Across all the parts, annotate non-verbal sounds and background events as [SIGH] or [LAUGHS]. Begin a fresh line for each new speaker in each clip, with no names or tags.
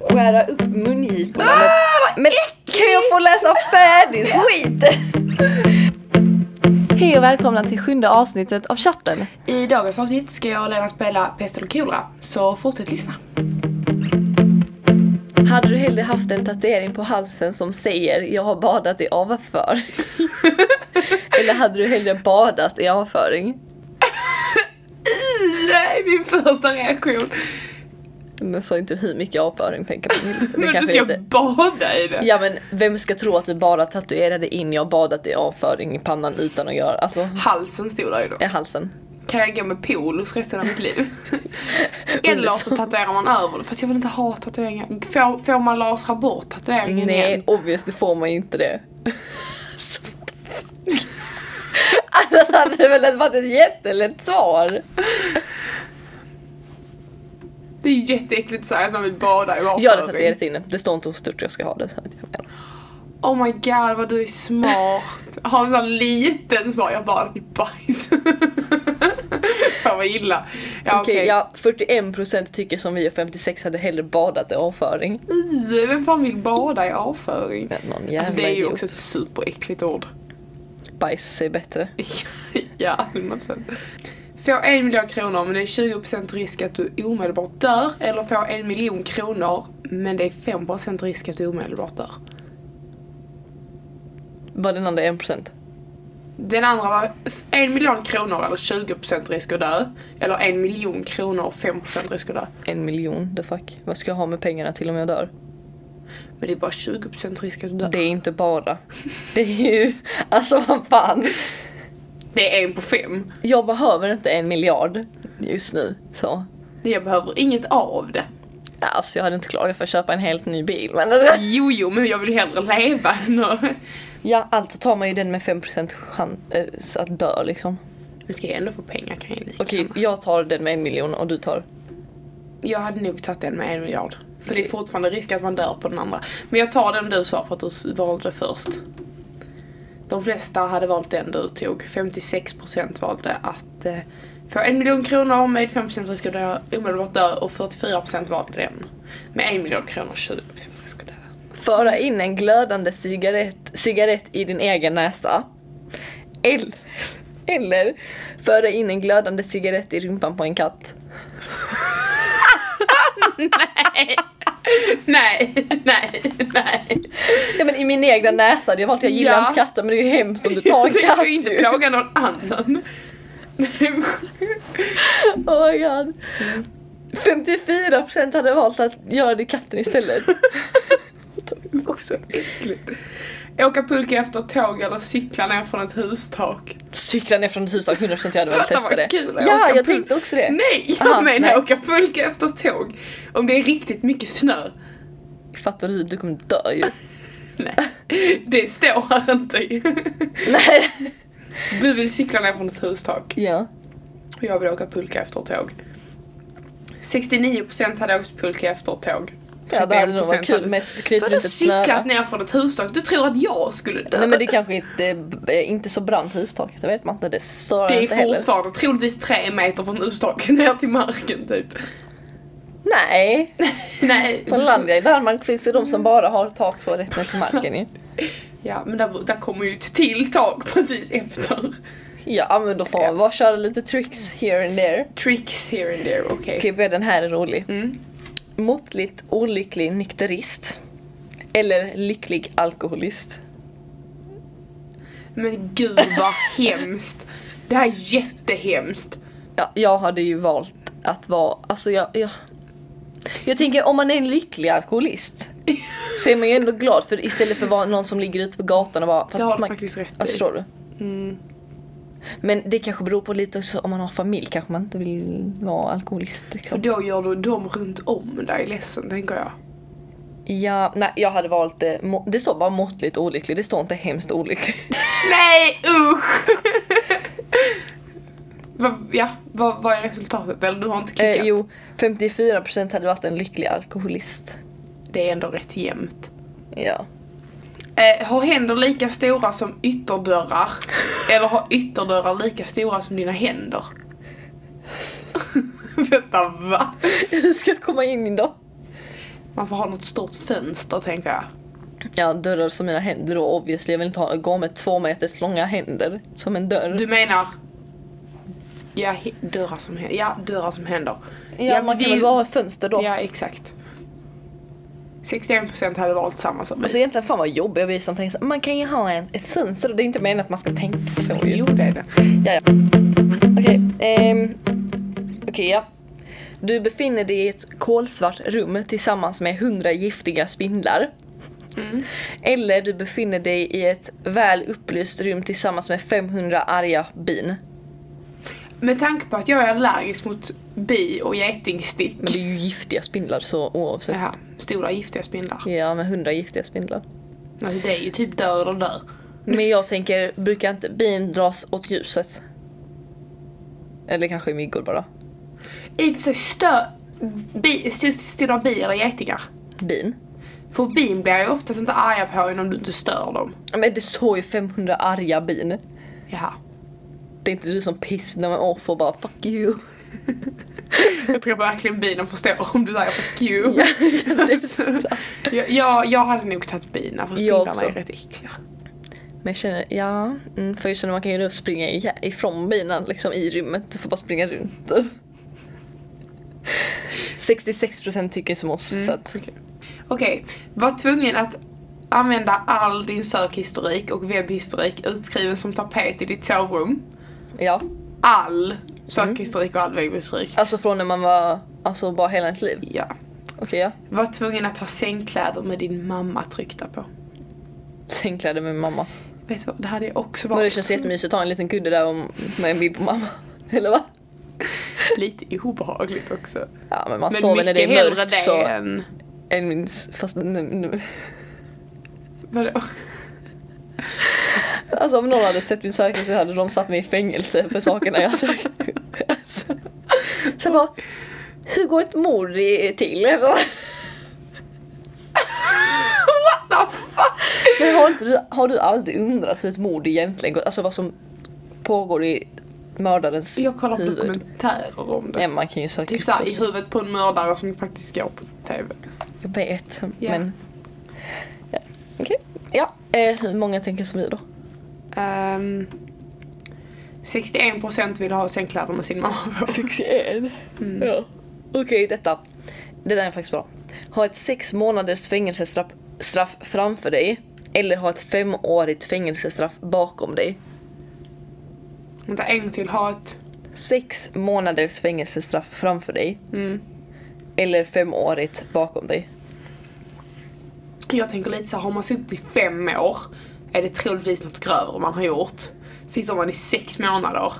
skära upp mungiporna. Ah, men kan jag få läsa färdigt skiten?
[LAUGHS] Hej och välkomna till sjunde avsnittet av chatten.
I dagens avsnitt ska jag och Lena spela Pest eller kolera, så fortsätt lyssna.
Hade du hellre haft en tatuering på halsen som säger jag har badat i avföring? [LAUGHS] Eller hade du hellre badat i avföring?
Nej, min första reaktion.
Men sa inte hur mycket avföring tänker på. [LAUGHS] Det
Men du
kanske
ska
inte-
bada i det.
Ja men vem ska tro att du bara tatuerade in jag har badat i avföring i pannan utan att göra, alltså
Halsen stod där ju då.
i halsen.
Kan jag gå med polos resten av mitt [LAUGHS] liv? Eller så tatuerar man över det, fast jag vill inte ha tatueringar. Får, får man lasra bort tatueringen
Nej
igen?
obvious, det får man ju inte det. [LAUGHS] Så- Annars hade det väl varit ett jättelätt svar.
Det är ju jätteäckligt att säga att man vill bada i
Jag hade tatuerat
avföring.
in det. Det står inte hur stort jag ska ha det. så att jag menar.
Oh my god vad du är smart. Har en sån liten svar, jag badat i bajs. [LAUGHS] Fan vad illa. Ja,
Okej,
okej.
ja, 41% tycker som vi och 56 hade hellre badat i avföring.
I, vem fan vill bada i avföring?
Men någon jävla
Alltså det är ju
idiot.
också ett superäckligt ord. [LAUGHS]
Bajs säger bättre.
ja, 100%. Få en miljon kronor men det är 20% risk att du omedelbart dör. Eller få en miljon kronor men det är 5% risk att du omedelbart dör.
Var den andra 1%?
Den andra var en miljon kronor eller 20% risk att dö. Eller en miljon kronor och 5% risk att dö.
En miljon, the fuck. Vad ska jag ha med pengarna till om jag dör?
Men det är bara 20% risk att du dör.
Det är inte bara. Det är ju, [LAUGHS] alltså vad fan.
Det är en på fem.
Jag behöver inte en miljard just nu. Så.
Jag behöver inget av det.
Alltså jag hade inte klarat för att köpa en helt ny bil. Men alltså.
Jo, jo, men jag vill ju hellre leva än att
Ja, alltså tar man ju den med 5% chans eh, att dö liksom.
Men ska jag ändå få pengar kan jag lika
Okej,
gärna.
jag tar den med en miljon och du tar...
Jag hade nog tagit den med en miljard. För det
Okej.
är fortfarande risk att man dör på den andra. Men jag tar den du sa för att du s- valde först. De flesta hade valt den du tog. 56% valde att eh, få en miljon kronor med 5% risk att dö, omedelbart dö och 44% valde den. Med en miljon kronor 20% risk att dö.
Föra in en glödande cigarett, cigarett i din egen näsa. Eller, eller föra in en glödande cigarett i rumpan på en katt.
[LAUGHS] Nej, nej, nej.
Ja men i min egna näsa, det är valt jag gillar
Ja.
inte katter men det är ju hemskt [LAUGHS] om du tar en
Jag
katt.
tänker inte plåga någon [LAUGHS] annan.
Oh my god. 54% hade valt att göra det i katten istället.
Också äckligt. Åka pulka efter tåg eller cykla ner från ett hustak.
Cykla ner från ett hustak, 100% jag hade velat
Fatta
testa
vad
det.
kul att
ja,
åka
jag
pul-
tänkte också det.
Nej, jag
Aha,
menar
nej.
åka pulka efter tåg. Om det är riktigt mycket snö.
Fattar du? Du kommer dö
[LAUGHS]
ju. [LAUGHS]
Nej, det står här inte.
Nej.
Du vill cykla ner från ett hustak
Ja.
och jag vill åka pulka efter tåg. 69% hade åkt pulka efter tåg.
Ja, det hade nog varit
31%
kul
hade-
med ett kryp
Vadå
runt ett snöre.
cyklat ner från ett hustak? Du tror att jag skulle dö?
Nej men det kanske är ett, eh, b- inte så brant hustak, det vet man inte. Det stör
det
inte
är
heller.
fortfarande troligtvis tre meter från hustaken ner till marken typ.
Nej!
Nej.
På Landia i Danmark finns det de
Mm.
som bara har tak så rätt ner till marken
[LAUGHS]
ju.
Ja, men där, där kommer ju ett till tag precis efter.
Ja men då får man bara köra lite tricks here and there.
Tricks here and there, okej.
Okej, okay, den här är rolig.
Mm.
Måttligt olycklig nykterist. Eller lycklig alkoholist.
Men gud vad hemskt. Det här är jättehemskt.
Ja, jag hade ju valt att vara, alltså jag, jag... Jag tänker om man är en lycklig alkoholist så är man ju ändå glad för istället för att vara någon som ligger ute på gatan och bara...
det har du
man,
faktiskt rätt i.
alltså, förstår du?
Mm.
Men det kanske beror på lite också om man har familj kanske man inte vill vara alkoholist
För
liksom.
då gör du dem runt om dig ledsen, tänker jag.
Ja, nej jag hade valt det, må- det står bara måttligt olycklig, det står inte hemskt olycklig.
[LAUGHS] Nej, usch! [LAUGHS] Vad- ja, vad, vad är resultatet? Eller du har inte klickat?
Eh, jo, 54% hade varit en lycklig alkoholist.
Det är ändå rätt jämnt.
Ja.
Eh, har händer lika stora som ytterdörrar? Eller har ytterdörrar lika stora som dina händer? [LAUGHS] Vänta, va?
Hur ska jag komma in då?
Man får ha något stort fönster tänker jag.
Ja, dörrar som mina händer då obviously. Jag vill inte ha, gå med två meters långa händer som en dörr.
Du menar? Ja, he- dörrar som händer. Ja, dörrar som händer.
ja,
jag
man kan
vill-
väl bara ha ett fönster då.
Ja, exakt. 61% hade valt samma som mig.
Alltså egentligen fan vad jobbigt vi som tänker så, man kan ju ha en, ett fönster och det är inte meningen att man ska tänka så ju.
Jo, det är det.
Okej, ehm, okej, ja. Du befinner dig i ett kolsvart rum tillsammans med hundra giftiga spindlar.
Mm.
Eller du befinner dig i ett väl upplyst rum tillsammans med 500 arga bin.
Med tanke på att jag är allergisk mot bi och getingstick.
Men det är ju giftiga spindlar så oavsett.
Jaha, stora giftiga spindlar.
Ja, men 100 giftiga spindlar.
Alltså det är ju typ död och dö.
Men jag tänker, brukar inte bin dras åt ljuset? Eller kanske myggor bara.
I och för sig stö... Bi, st- stora bi eller getingar.
Bin.
För bin blir ju oftast inte arga på en om du inte stör dem.
Men det står ju 500 arga bin.
Jaha.
Det är inte du som pissnar med off och bara fuck you.
Jag tror verkligen binen förstår om du säger fuck you.
[LAUGHS] Ja, testa.
jag, jag, jag hade nog tagit bina för spindlarna
också.
är rätt äckliga.
Men jag känner, ja, mm, för jag känner man kan ju då springa i- ifrån binan liksom i rummet. Du får bara springa runt. 66% tycker som oss så att
Okej. Okej, var tvungen att använda all din sökhistorik och webbhistorik utskriven som tapet i ditt sovrum.
ja.
All sökhistorik och all webbhistorik.
Alltså från när man var, alltså bara hela ens liv.
Ja.
Okej ja.
Var tvungen att ha sängkläder med din mamma tryckta på.
Sängkläder med mamma.
Vet du vad, det hade jag också
Men det
varit
känns jättemysigt att ha en liten kudde där om- med en bild på mamma. [LAUGHS] Eller va?
lite obehagligt också.
Ja men man
Men
sover när
mycket
det är
hellre
mörkt
det
så.
än...
En minns, fast nu, nu.
Vadå?
Alltså om någon hade sett min sökning så hade de satt mig i fängelse för sakerna jag söker.
[LAUGHS]
Alltså. Sen bara, hur går ett mord i- till? [LAUGHS]
What the fuck?
Men har, inte du, har du aldrig undrat hur ett mord egentligen går, alltså vad som pågår i mördarens
Jag kollar på
huvud?
dokumentärer om det.
Nej, man kan ju söka
Typ
upp
såhär
det
i
också.
huvudet på en mördare som faktiskt går på TV.
Jag vet,
Ja.
men... Ja. Okej. Ja, eh, hur många tänker som vi då?
Ehm, 61% vill ha sängkläder med sin mamma på.
61.
Mm.
Ja. Okej, detta. Det där är faktiskt bra. Ha ett sex månaders fängelsestraff straff framför dig eller ha ett femårigt fängelsestraff bakom dig.
Vänta, en gång till. Ha ett...
Sex månaders fängelsestraff framför dig
Mm.
eller femårigt bakom dig.
Jag tänker lite så här, har man suttit i fem år är det troligtvis något grövre man har gjort. Sitter man i sex månader.
Ah,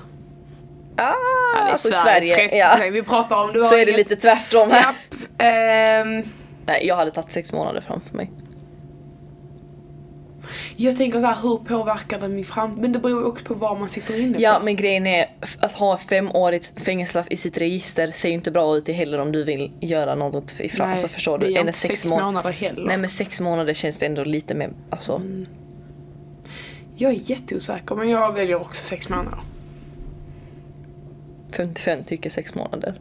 Ja, det är
alltså i
Sveriges
Sverige.
rättssystem
Ja.
vi pratar om. Du
Så
har
är det
inget-
lite tvärtom här.
Japp. Ehm,
Nej, jag hade tagit sex månader framför mig.
jag tänker så här, hur påverkar det min framtid? Men det beror ju också på vad man sitter inne
Ja,
för.
men grejen är f- att ha femårigt fängelsestraff i sitt register ser ju inte bra ut i heller om du vill göra något ifrån.
Nej,
alltså förstår
det
du?
gör
Än
inte
sex
sex
månader.
månader heller.
Nej men sex månader känns det ändå lite mer, alltså.
Mm. Jag är jätteosäker men jag väljer också sex månader.
55 tycker sex månader.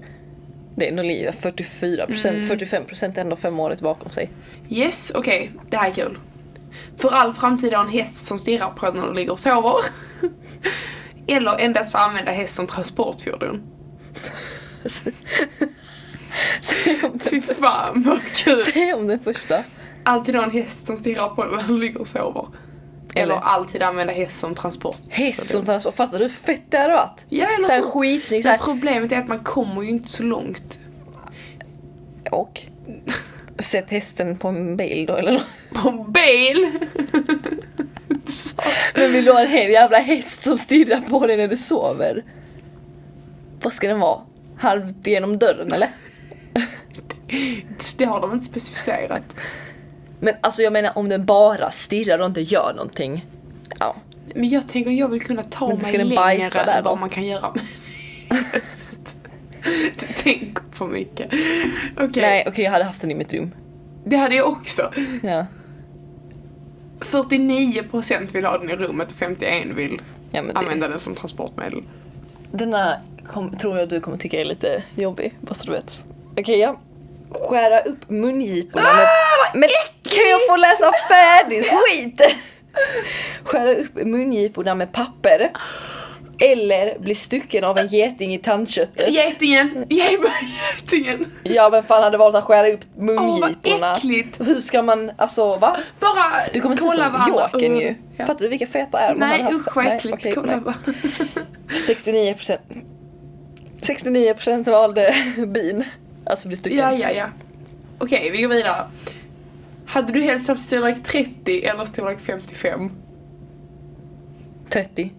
Det är ändå livet. 44 procent,
Mm.
45 procent är ändå fem året bakom sig. [LAUGHS]
Yes, okej. Det här är kul. För all framtid ha en häst som stirrar på en när du ligger och sover. [LAUGHS] Eller endast få använda häst som transportfordon.
Säg om
Fy
[LAUGHS] den,
fan vad
[LAUGHS]
kul!
säg om den första.
Alltid ha en häst som stirrar på en när du ligger och sover. Eller
Eller?
alltid använda häst som transport.
Häst som transport, fattar du hur fett det hade varit?
Ja, eller
Såhär
hur?
skitsnygg
Men
såhär.
Problemet är att man kommer ju inte så långt.
Och? Sätt hästen på en bil då eller nåt.
På en bil!
Men vill du ha en hel jävla häst som stirrar på dig när du sover? Vad ska den vara? Halvt genom dörren eller?
Det har de inte specificerat.
Men alltså jag menar om den bara stirrar och inte gör någonting. Ja.
Men jag tänker jag vill kunna ta
Men
mig
ska den bajsa
längre
där
än vad
då?
man kan göra med en häst. Du tänker för mycket. Okej,
Nej okej jag hade haft den i mitt rum.
det hade jag också.
Ja.
49% vill ha den i rummet och 51% vill
Ja, men det,
använda den som transportmedel.
denna kom, tror jag du kommer tycka är lite jobbig, bara så du vet. Okej ja. skära upp mungiporna
Ah,
med... Men kan jag få läsa färdigt? Skit! Skära upp mungiporna med papper. Eller bli stycken av en geting i tandköttet.
Getingen! Ge mig getingen!
Ja vem fan hade valt att skära upp
Åh vad
mungiporna?
äckligt!
Hur ska man, alltså va?
Bara
Du kommer se ut som Jokern ju.
Ja.
Fattar du vilka feta är?
Nej usch vad äckligt, kolla
nej.
varandra.
69% 69% valde bin. Alltså bli stycken.
Ja, ja, ja. Okej, vi går vidare. Hade du helst haft storlek 30 eller storlek 55?
30.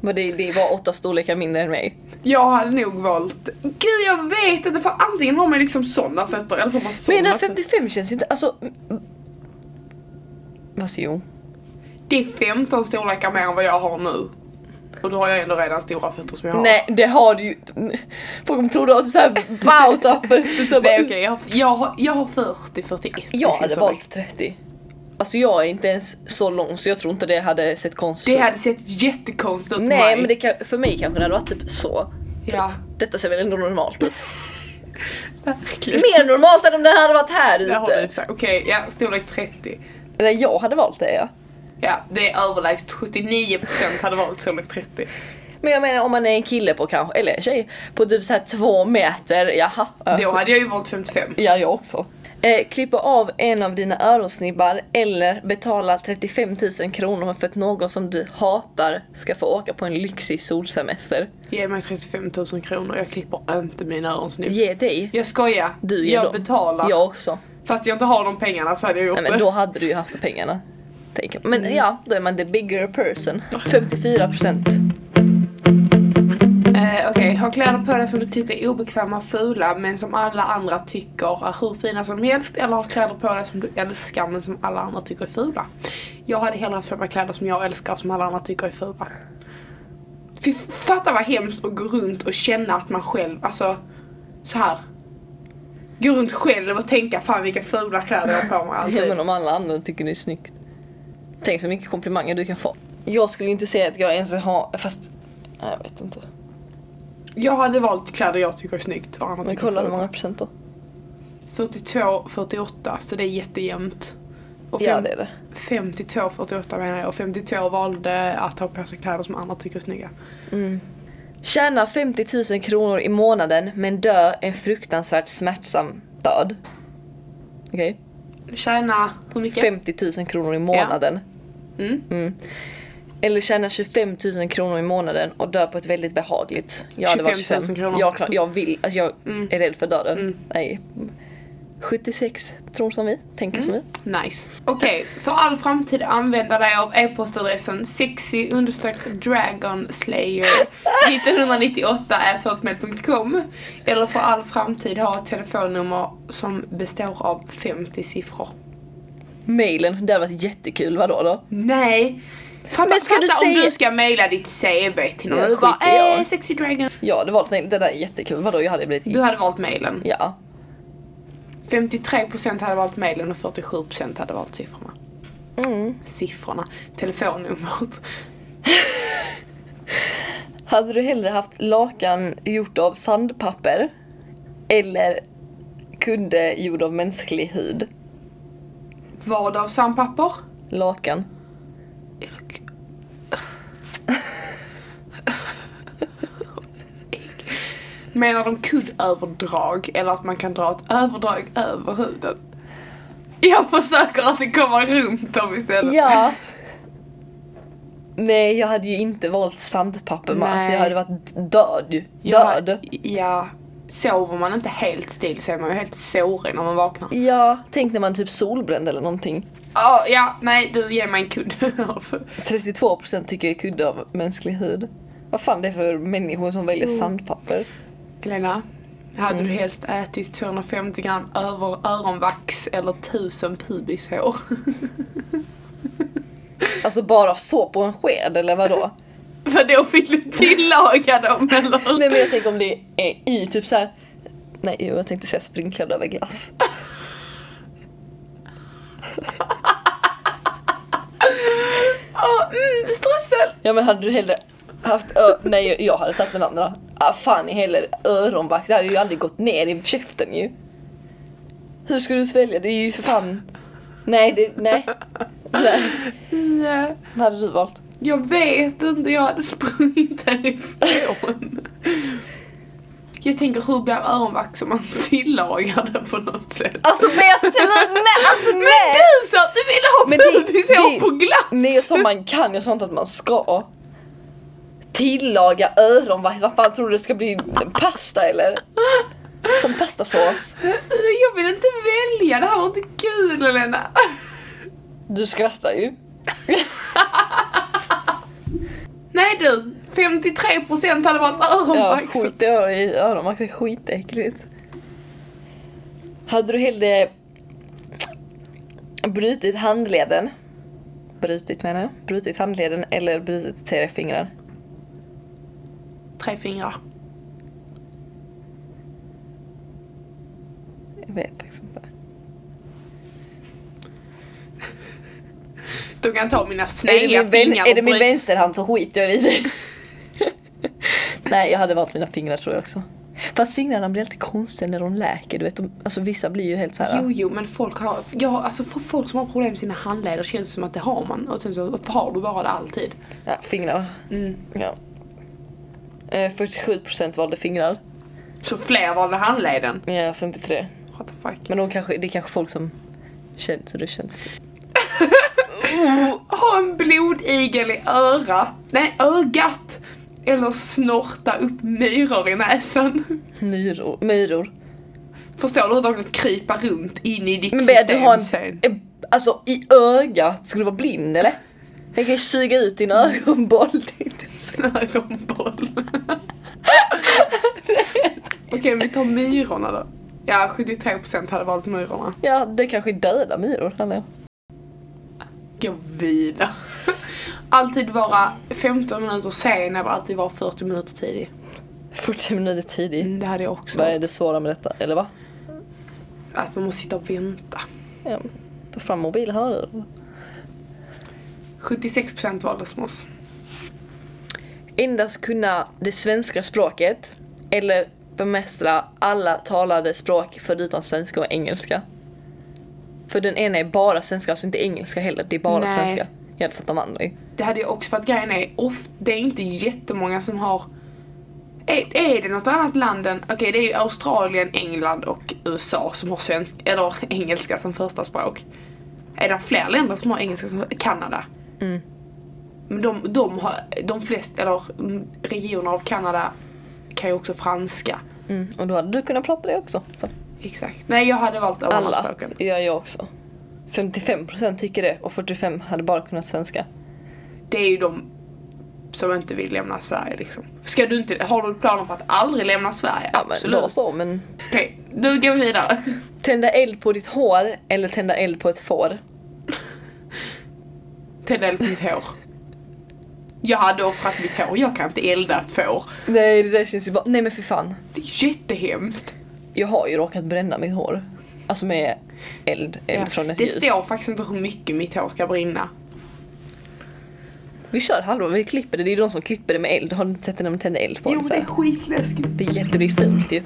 Men det, det var åtta storlekar mindre än mig.
Jag hade nog valt... Gud jag vet inte för antingen har man liksom såna fötter eller så har man såna
Men den här
fötter.
55 känns inte, alltså... Alltså jo.
Det är 15 storlekar mer än vad jag har nu. Och då har jag ändå redan stora fötter som jag har.
Nej det har du ju. Folk kommer tro du har typ såhär bauta
[LAUGHS]
fötter. så
Nej
bara,
okej, jag, har- jag, har- jag har 40, 41 i
Jag
sin
hade
storlek.
valt 30. Alltså jag är inte ens så lång så jag tror inte det hade sett konstigt
Det
ut.
hade sett jättekonstigt ut på
Nej
mig.
men det kan, för mig kanske det hade varit typ så.
Ja,
Detta ser väl ändå normalt
[LAUGHS]
ut.
verkligen.
Mer normalt än om den hade varit här
Det har
ute.
du sagt. Okej, ja, storlek 30.
Nej jag hade valt det ja.
Ja, det är överlägset. 79% hade valt storlek 30.
Men jag menar om man är en kille på kanske, eller en tjej, på typ såhär två meter, jaha.
Då hade jag ju valt 55.
Ja, jag också. Eh, klippa av en av dina öronsnibbar eller betala 35 000 kronor för att någon som du hatar ska få åka på en lyxig solsemester.
Ge mig 35 000 kronor, jag klipper inte mina öronsnibb.
Ge dig.
Jag skojar.
Du ger
jag
dem.
betalar.
Jag också.
Fast jag inte har de pengarna så hade jag gjort
Nej men
det.
då hade du ju haft pengarna. Tänker jag. Men ja, då är man the bigger person. 54%.
Eh, Okej, ha kläder på dig som du tycker är obekväma och fula men som alla andra tycker är hur fina som helst eller ha kläder på dig som du älskar men som alla andra tycker är fula. Jag hade hellre haft på mig kläder som jag älskar som alla andra tycker är fula. Fy fatta vad hemskt att gå runt och känna att man själv, alltså så här. Gå runt själv och tänka fan vilka fula kläder jag har på mig
[LAUGHS]
alltid.
Även om alla andra tycker det är snyggt. Tänk så mycket komplimanger du kan få. Jag skulle inte säga att jag ens har, fast... nej, Jag vet inte.
Jag hade valt kläder jag tycker är snyggt och andra
Men
tycker
kolla
är
hur
fula.
många procent då.
42, 48 så det är jättejämnt. Och
Ja
fem-
det är det.
52, 48 menar jag. Och 52 valde att ha på sig kläder som andra tycker är snygga.
Tjäna 50 000 kronor i månaden men dö en fruktansvärt smärtsam död. Okej?
Tjäna hur mycket?
50 000 kronor i månaden.
Mm.
Mm. Eller tjäna 25 000 kronor i månaden och dö på ett väldigt behagligt. Jag hade varit
25 000 kronor.
Jag, klar, jag vill, alltså jag
Mm.
är rädd för döden.
Mm.
Nej. 76 tror som vi, tänker som vi.
Nice. Okej, för all framtid använda dig av e-postadressen sexy dragonslayer 1998 hotmail.com eller för all framtid ha ett telefonnummer som består av 50 siffror.
Mailen, det hade varit jättekul, vadå då?
Nej! Fan,
Men ska
fatta
du
om
säga-
du ska mejla ditt CV till någon
Ja,
och du bara
skit i jag.
eh, sexy dragon.
Jag hade valt, nej det där är jättekul, vadå jag hade blivit...
Du hade valt mejlen.
Ja.
53% hade valt mailen och 47% hade valt siffrorna.
Mm.
Siffrorna. Telefonnumret.
Hade du hellre haft lakan gjort av sandpapper eller kudde gjord av mänsklig hud?
Vad av sandpapper?
Lakan.
Menar de kuddöverdrag eller att man kan dra ett överdrag över huden? Jag försöker att det kommer runt dem istället.
Ja. Nej, jag hade ju inte valt sandpapper. Nej.
Nej.
Alltså, jag hade varit död ju.
Ja,
Död.
Ja. Sover man inte helt still så är man ju helt sårig när man vaknar.
Ja, tänk när man är typ solbränd eller någonting.
Ja, ja, nej du ger mig en kudde. av-
32% tycker jag är kudde av mänsklig hud. Vad fan det är för människor som väljer sandpapper?
Helena, hade
Mm.
du helst ätit 250 gram över öronvax eller 1000 pubishår? [LAUGHS]
Alltså bara så på en sked eller vadå?
Vadå, vill du
[LAUGHS]
tillaga dem eller?
Nej men jag tänker om det är i typ så här. Nej jo, jag tänkte säga sprinklad över glass.
Ja, mm, strössel!
Ja men hade du hellre haft ö- Nej jag hade tagit den andra. Ah, fan i heller öronvax, det hade ju aldrig gått ner i käften ju. Hur ska du svälja? Det är ju för fan... Nej, det, nej. nej.
Ja,
Vad hade du valt?
eh, jag vet inte, jag hade sprungit därifrån. [LAUGHS] Jag tänker hur blir öronvax om man [LAUGHS] tillagar det på något sätt?
Alltså men jag ställer nej, alltså nej!
Du sa att du ville ha
Men det-
pubisår
det-
på glass!
Nej, jag sa man kan, jag sa inte att man ska. Tillaga öronvax, vad fan tror du det ska bli? Pasta eller? Som pastasås.
[LAUGHS] Jag vill inte välja, det här var inte kul Helena.
Du skrattar ju.
Nej du, 53% hade varit
Ja,
öronvax.
skit i ö- i öronvax, det är skitäckligt. Hade du hellre brutit handleden, brutit menar jag, brutit handleden eller brutit tre fingrar?
Tre fingrar.
Jag vet faktiskt inte.
Då kan jag ta mina
Är det
snälla
min, vän,
fingrar
är det min
och bryta.
vänsterhand så skiter jag i det. Nej, jag hade valt mina fingrar tror jag också. Fast fingrarna blir alltid konstiga när de läker, du vet. De, alltså vissa blir ju helt så här.
Jo, jo, men folk har, jag, har- alltså för folk som har problem med sina handleder känns det som att det har man och sen så har du bara det alltid.
Ja, fingrar.
Mm.
Ja. Eh, 47% valde fingrar.
Så fler valde handleden.
Ja, 53.
What the fuck.
Men de kanske, det är kanske folk som känns hur det känns.
Ha en blodigel i örat, nej ögat! Eller snorta upp myror i näsan.
Myror. myror.
Förstår du hur de kan krypa runt in i ditt
Men Bea,
system
du har en,
sen?
en... Alltså i ögat, ska du vara blind eller? Jag kan ju suga ut din ögonboll. [LAUGHS] tänkte jag säga.
En ögonboll.
[LAUGHS]
Okej, vi tar myrorna då. Ja, 73% hade valt myrorna.
Ja, det kanske är döda myror. Eller?
gå vidare. Alltid vara 15 minuter sen eller alltid vara 40 minuter tidig.
40 minuter tidig.
Mm, Det hade jag också
Vad är
valt.
det svåra med detta? Eller va?
Att man måste sitta och vänta.
Ja, ta fram mobilhörlurar.
76% valde smås.
Endast kunna det svenska språket eller bemästra alla talade språk förutom svenska och engelska. För den ena är bara svenska, alltså inte engelska heller. Det är bara
Nej.
svenska. Jag hade satt de andra i.
Det hade jag också för att grejen är ofta, det är inte jättemånga som har är, är det något annat land än, okej det är ju Australien, England och USA som har svensk, eller [LAUGHS] engelska som första språk. Är det fler länder som har engelska som Kanada?
Mm.
Men de, de har, de flesta, eller mm, regioner av Kanada kan ju också franska.
Mm. Och då hade du kunnat prata det också. Så.
Exakt. Nej jag hade valt alla
Alla.
språken.
Ja, jag också. 55% tycker det och 45% hade bara kunnat svenska.
Det är ju de som inte vill lämna Sverige liksom. Ska du inte, har du planer på att aldrig lämna Sverige?
Ja, men
Absolut.
då så, men...
Okej, nu går vi vidare.
Tända eld på ditt hår eller tända eld på ett får?
Tända eld på mitt hår. Jag hade offrat mitt hår, jag kan inte elda ett får.
Nej, det där känns ju bara... Nej men för fan.
Det är jättehemskt.
Jag har ju råkat bränna mitt hår. Alltså med eld, eld
Ja,
från ett
det
ljus.
står faktiskt inte hur mycket mitt hår ska brinna.
Vi kör halva, vi klipper det. Det är ju de som klipper det med eld. Har du inte sett det när de tänder eld på
Jo
det? Så
det är
här?
skitläskigt.
Det är jätteblir fult ju.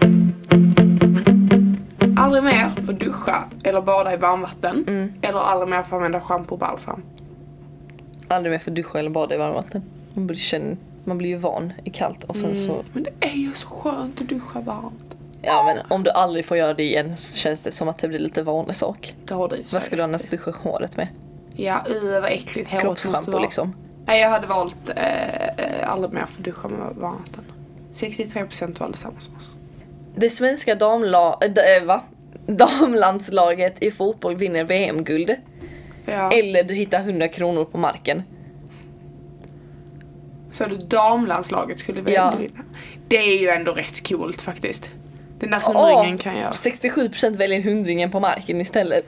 Aldrig mer få duscha eller bada i varmvatten.
Mm.
Eller aldrig mer få använda schampo och balsam.
Aldrig mer få duscha eller bada i varmvatten. Man blir, känn, man blir ju van i kallt och sen så...
Men det är ju så skönt att duscha varmt.
Ja men om du aldrig får göra det igen så känns det som att det blir lite vanlig sak.
Det har du i och för
Vad
sig
ska du
rätt
annars
i.
duscha håret med?
Ja, uh, vad äckligt håret måste
Kroppsschampo
vara.
liksom.
Nej, jag hade valt eh, eh, aldrig mer få duscha med varmvatten. 63% valde samma som oss.
Det svenska damla, äh, d- äh, va? [LAUGHS] damlandslaget i fotboll vinner VM-guld.
Ja.
Eller du hittar 100 kronor på marken.
Så du damlandslaget skulle vi
Ja.
ändå vinna. Det är ju ändå rätt coolt faktiskt. Den där hundringen kan jag.
67% väljer hundringen på marken istället.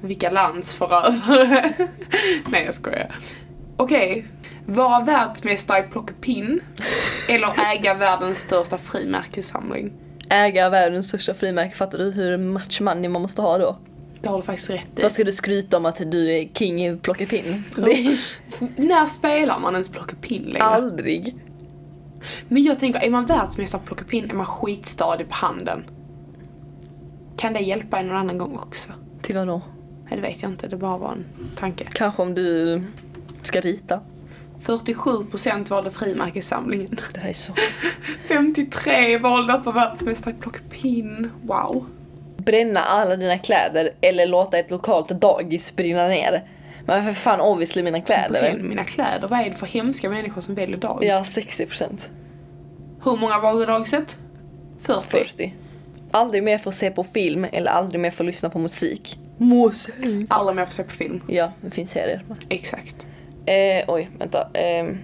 Vilka landsförövare. [LAUGHS] Nej jag skojar. Okej. Vara världsmästare i plockepinn. eller äga världens största frimärkessamling.
Äga världens största frimärke, fattar du hur much money man måste ha då?
Det har du faktiskt rätt i.
Vad ska du skryta om att du är king i plockepinn? Det är
När spelar man ens plockepinn längre?
aldrig.
Men jag tänker, är man världsmästare på plockepinn är man skitstadig på handen. Kan det hjälpa en någon annan gång också?
Till vad då?
Nej, det vet jag inte, det bara var en tanke.
Kanske om du ska rita.
47% valde frimärkessamlingen.
Det här är så...
53 valde att vara världsmästare i plockpinn. Wow.
Bränna alla dina kläder eller låta ett lokalt dagis brinna ner. Men för fan obviously mina kläder.
Bränn mina kläder. Vad är det för hemska människor som väljer dagis?
Ja, 60%.
Hur många valde dagiset? 40.
40. Aldrig mer få se på film eller aldrig mer få lyssna på musik. Musik.
Alla med får se på film.
Ja, det finns serier.
Exakt.
Eh, oj, vänta. Ehm,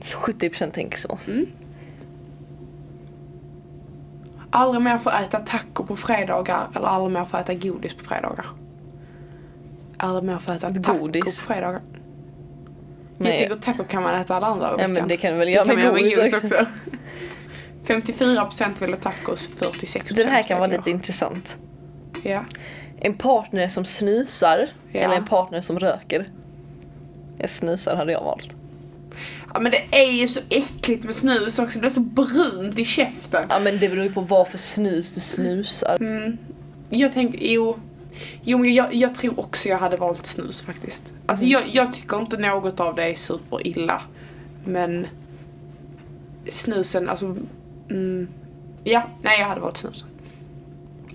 70% tänker så.
Aldrig mer får äta taco på fredagar eller aldrig mer får äta godis på fredagar. Aldrig mer får äta taco
Godis.
på fredagar. Jag
Nej.
tycker taco kan man äta alla andra dagar i
Ja, men
veckan.
det kan du väl göra
kan
med
man
godis
också. [LAUGHS] 54% ville tacos,
[LAUGHS]
46%
Den här kan vara
ville-
lite intressant.
Ja.
En partner som snusar
Ja.
eller en partner som röker. En snusar hade jag valt.
ja men det är ju så äckligt med snus också, det blir så brunt i käften.
Ja men det beror ju på vad för snus du snusar.
Mm. Jag tänkte, jo. Jo men jag, jag tror också jag hade valt snus faktiskt. Alltså
Mm.
jag, jag tycker inte något av det är superilla. Men snusen, alltså. Mm, ja, nej jag hade valt snusen.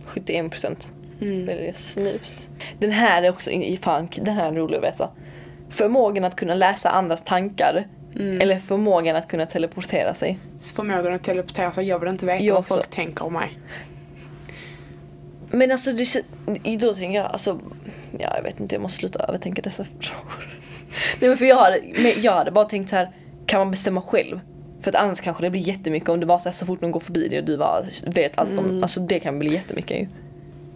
71%
Mm.
väljer snus. Den här är också in, i fan, den här är rolig att veta. Förmågan att kunna läsa andras tankar
Mm.
eller förmågan att kunna teleportera sig.
Förmågan att teleportera sig, jag vill inte veta
Jag
vad folk
också.
tänker om mig.
Men alltså det, kän- då tänker jag alltså, ja jag vet inte jag måste sluta övertänka dessa [LAUGHS] frågor. Nej men för jag hade, men jag hade bara tänkt så här kan man bestämma själv? För att annars kanske det blir jättemycket om det bara så, här, så fort någon går förbi dig och du bara vet allt om, alltså det kan bli jättemycket ju.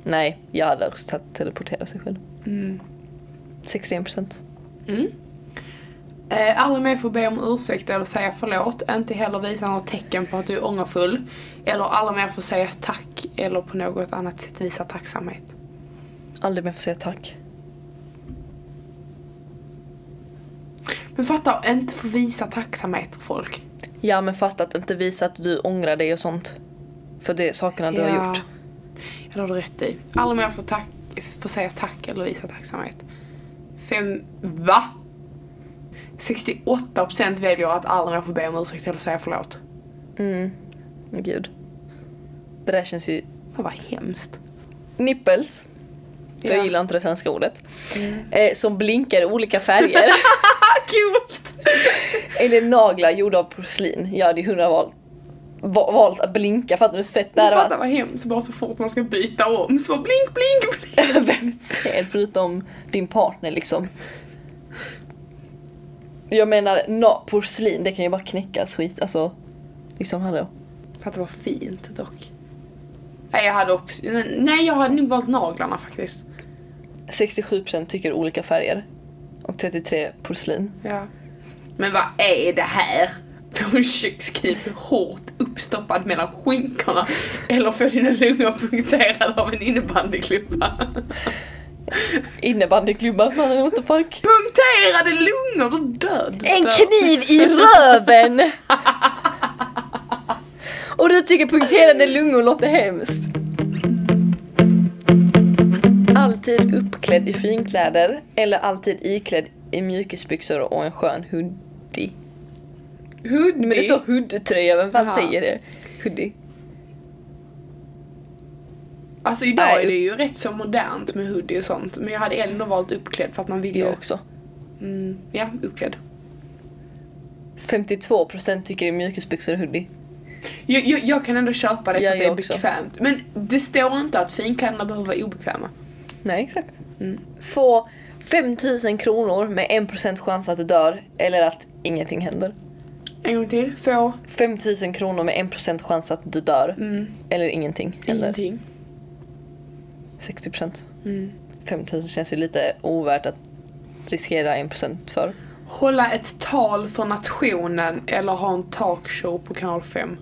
Nej, jag hade också tagit teleportera sig själv. 61%.
Eh, Aldrig mer få be om ursäkt eller säga förlåt, inte heller visa något tecken på att du är ångerfull. Eller aldrig mer få säga tack eller på något annat sätt visa tacksamhet.
Aldrig mer få säga tack.
Men fatta, inte få visa tacksamhet för folk.
Ja men fatta att inte visa att du ångrar dig och sånt. För det sakerna du har gjort.
Ja, det har du rätt i. Aldrig mer får, tack, får säga tack eller visa tacksamhet. Fem... Va? 68% väljer att aldrig mer få be om ursäkt eller säga förlåt.
Men Gud. Det där känns ju...
Fan vad hemskt.
Nippels. För
Ja. Mm.
jag gillar inte det svenska ordet. Eh, som blinkar i olika
[LAUGHS]
färger.
Coolt!
Eller naglar gjorda av porslin. Jag hade ju hundra valt, va- valt att blinka. Fattar du hur fett det
Du
här
fattar
var?
vad hemskt, bara så fort man ska byta om så bara blink, blink,
[LAUGHS]
blink.
Vem ser förutom din partner liksom? Jag menar na- porslin, det kan ju bara knäckas skit. Alltså, liksom hallå.
Fattar vad fint dock. Nej jag hade också, nej jag hade nog valt naglarna faktiskt.
67% tycker olika färger. Och 33% porslin.
Ja. Men vad är det här? Få en kökskniv hårt uppstoppad mellan skinkorna eller få dina lungor punkterade av en innebandyklubba?
Innebandyklubban, man har inte pack.
Punkterade lungor, du död!
En
Död.
kniv i [LAUGHS] röven! Och du tycker punkterade lungor låter hemskt. Alltid uppklädd i finkläder eller alltid iklädd i mjukisbyxor och en skön hoodie.
Hoodie.
Men det står hoodtröja, vem fan
Jaha.
säger det? Hoodie.
Alltså idag
Nej,
är det ju rätt så modernt med hoodie och sånt men jag hade ändå valt uppklädd för att man vill ju...
Jag också.
Mm, ja, uppklädd.
52% tycker det är mjukisbyxor och hoodie.
Jag, jag, jag kan ändå köpa det för
Ja,
att det är
jag också.
bekvämt. Men det står inte att finkläderna behöver vara obekväma.
Nej, exakt. Få 5000 kronor med 1% chans att du dör eller att ingenting händer.
En gång till. Få.
5000 kronor med 1% chans att du dör eller ingenting händer.
Ingenting.
60%. 5000 känns ju lite ovärt att riskera 1% för.
Hålla ett tal för nationen eller ha en talkshow på kanal 5?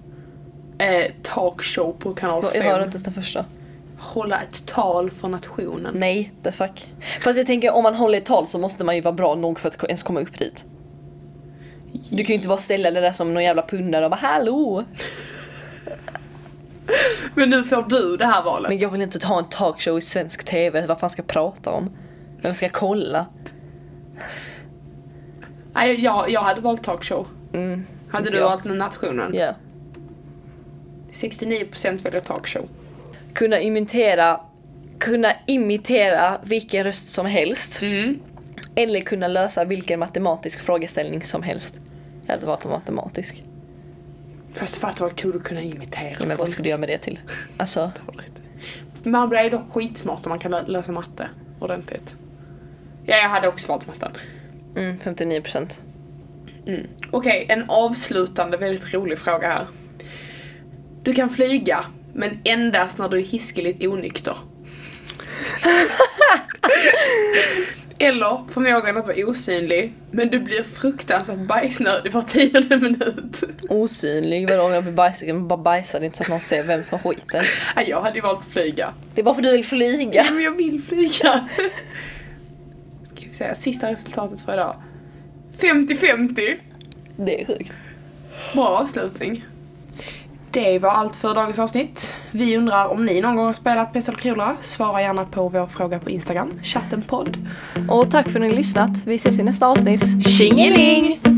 Eh, talkshow på kanal
Jag
5.
hörde inte ens den första.
Hålla ett tal för nationen.
Nej, the fuck. Fast jag tänker om man håller ett tal så måste man ju vara bra nog för att ens komma upp dit. Du kan ju inte bara ställa det där som någon jävla pundare och bara hallå.
Men nu får du det här valet.
Men jag vill inte ta en talkshow i svensk TV, vad fan ska jag prata om? Vem ska jag kolla?
Nej, jag, jag hade valt talkshow.
Mm,
Hade
inte
du
jag.
valt nationen?
Ja.
69% väljer talkshow.
Kunna imitera, kunna imitera vilken röst som helst.
Mm.
Eller kunna lösa vilken matematisk frågeställning som helst. Jag hade valt matematisk.
Fast fatta vad kul att kunna imitera
Ja, men vad skulle jag göra med det till? Alltså,
Man blir dock skitsmart om man kan lö- lösa matte ordentligt. Ja, jag hade också valt matten.
mm, 59%.
Mm. Okej, en avslutande väldigt rolig fråga här. Du kan flyga, men endast när du är hiskeligt onykter. [LAUGHS] Eller förmågan att vara osynlig, men du blir fruktansvärt bajsnödig var tionde minut. [LAUGHS]
Osynlig, vadå om jag blir bajsig? Jag bara bajsar inte så att någon ser vem som skiter.
Nej, jag hade ju valt att flyga.
Det är bara för att du vill flyga.
Men jag vill flyga. Ska vi säga sista resultatet för idag. 50-50.
Det är sjukt.
Bra avslutning. Det var allt för dagens avsnitt. Vi undrar om ni någon gång har spelat Pest eller kolera? Svara gärna på vår fråga på Instagram, chattenpodd.
Och tack för att ni har lyssnat. Vi ses i nästa avsnitt.
Tjingeling!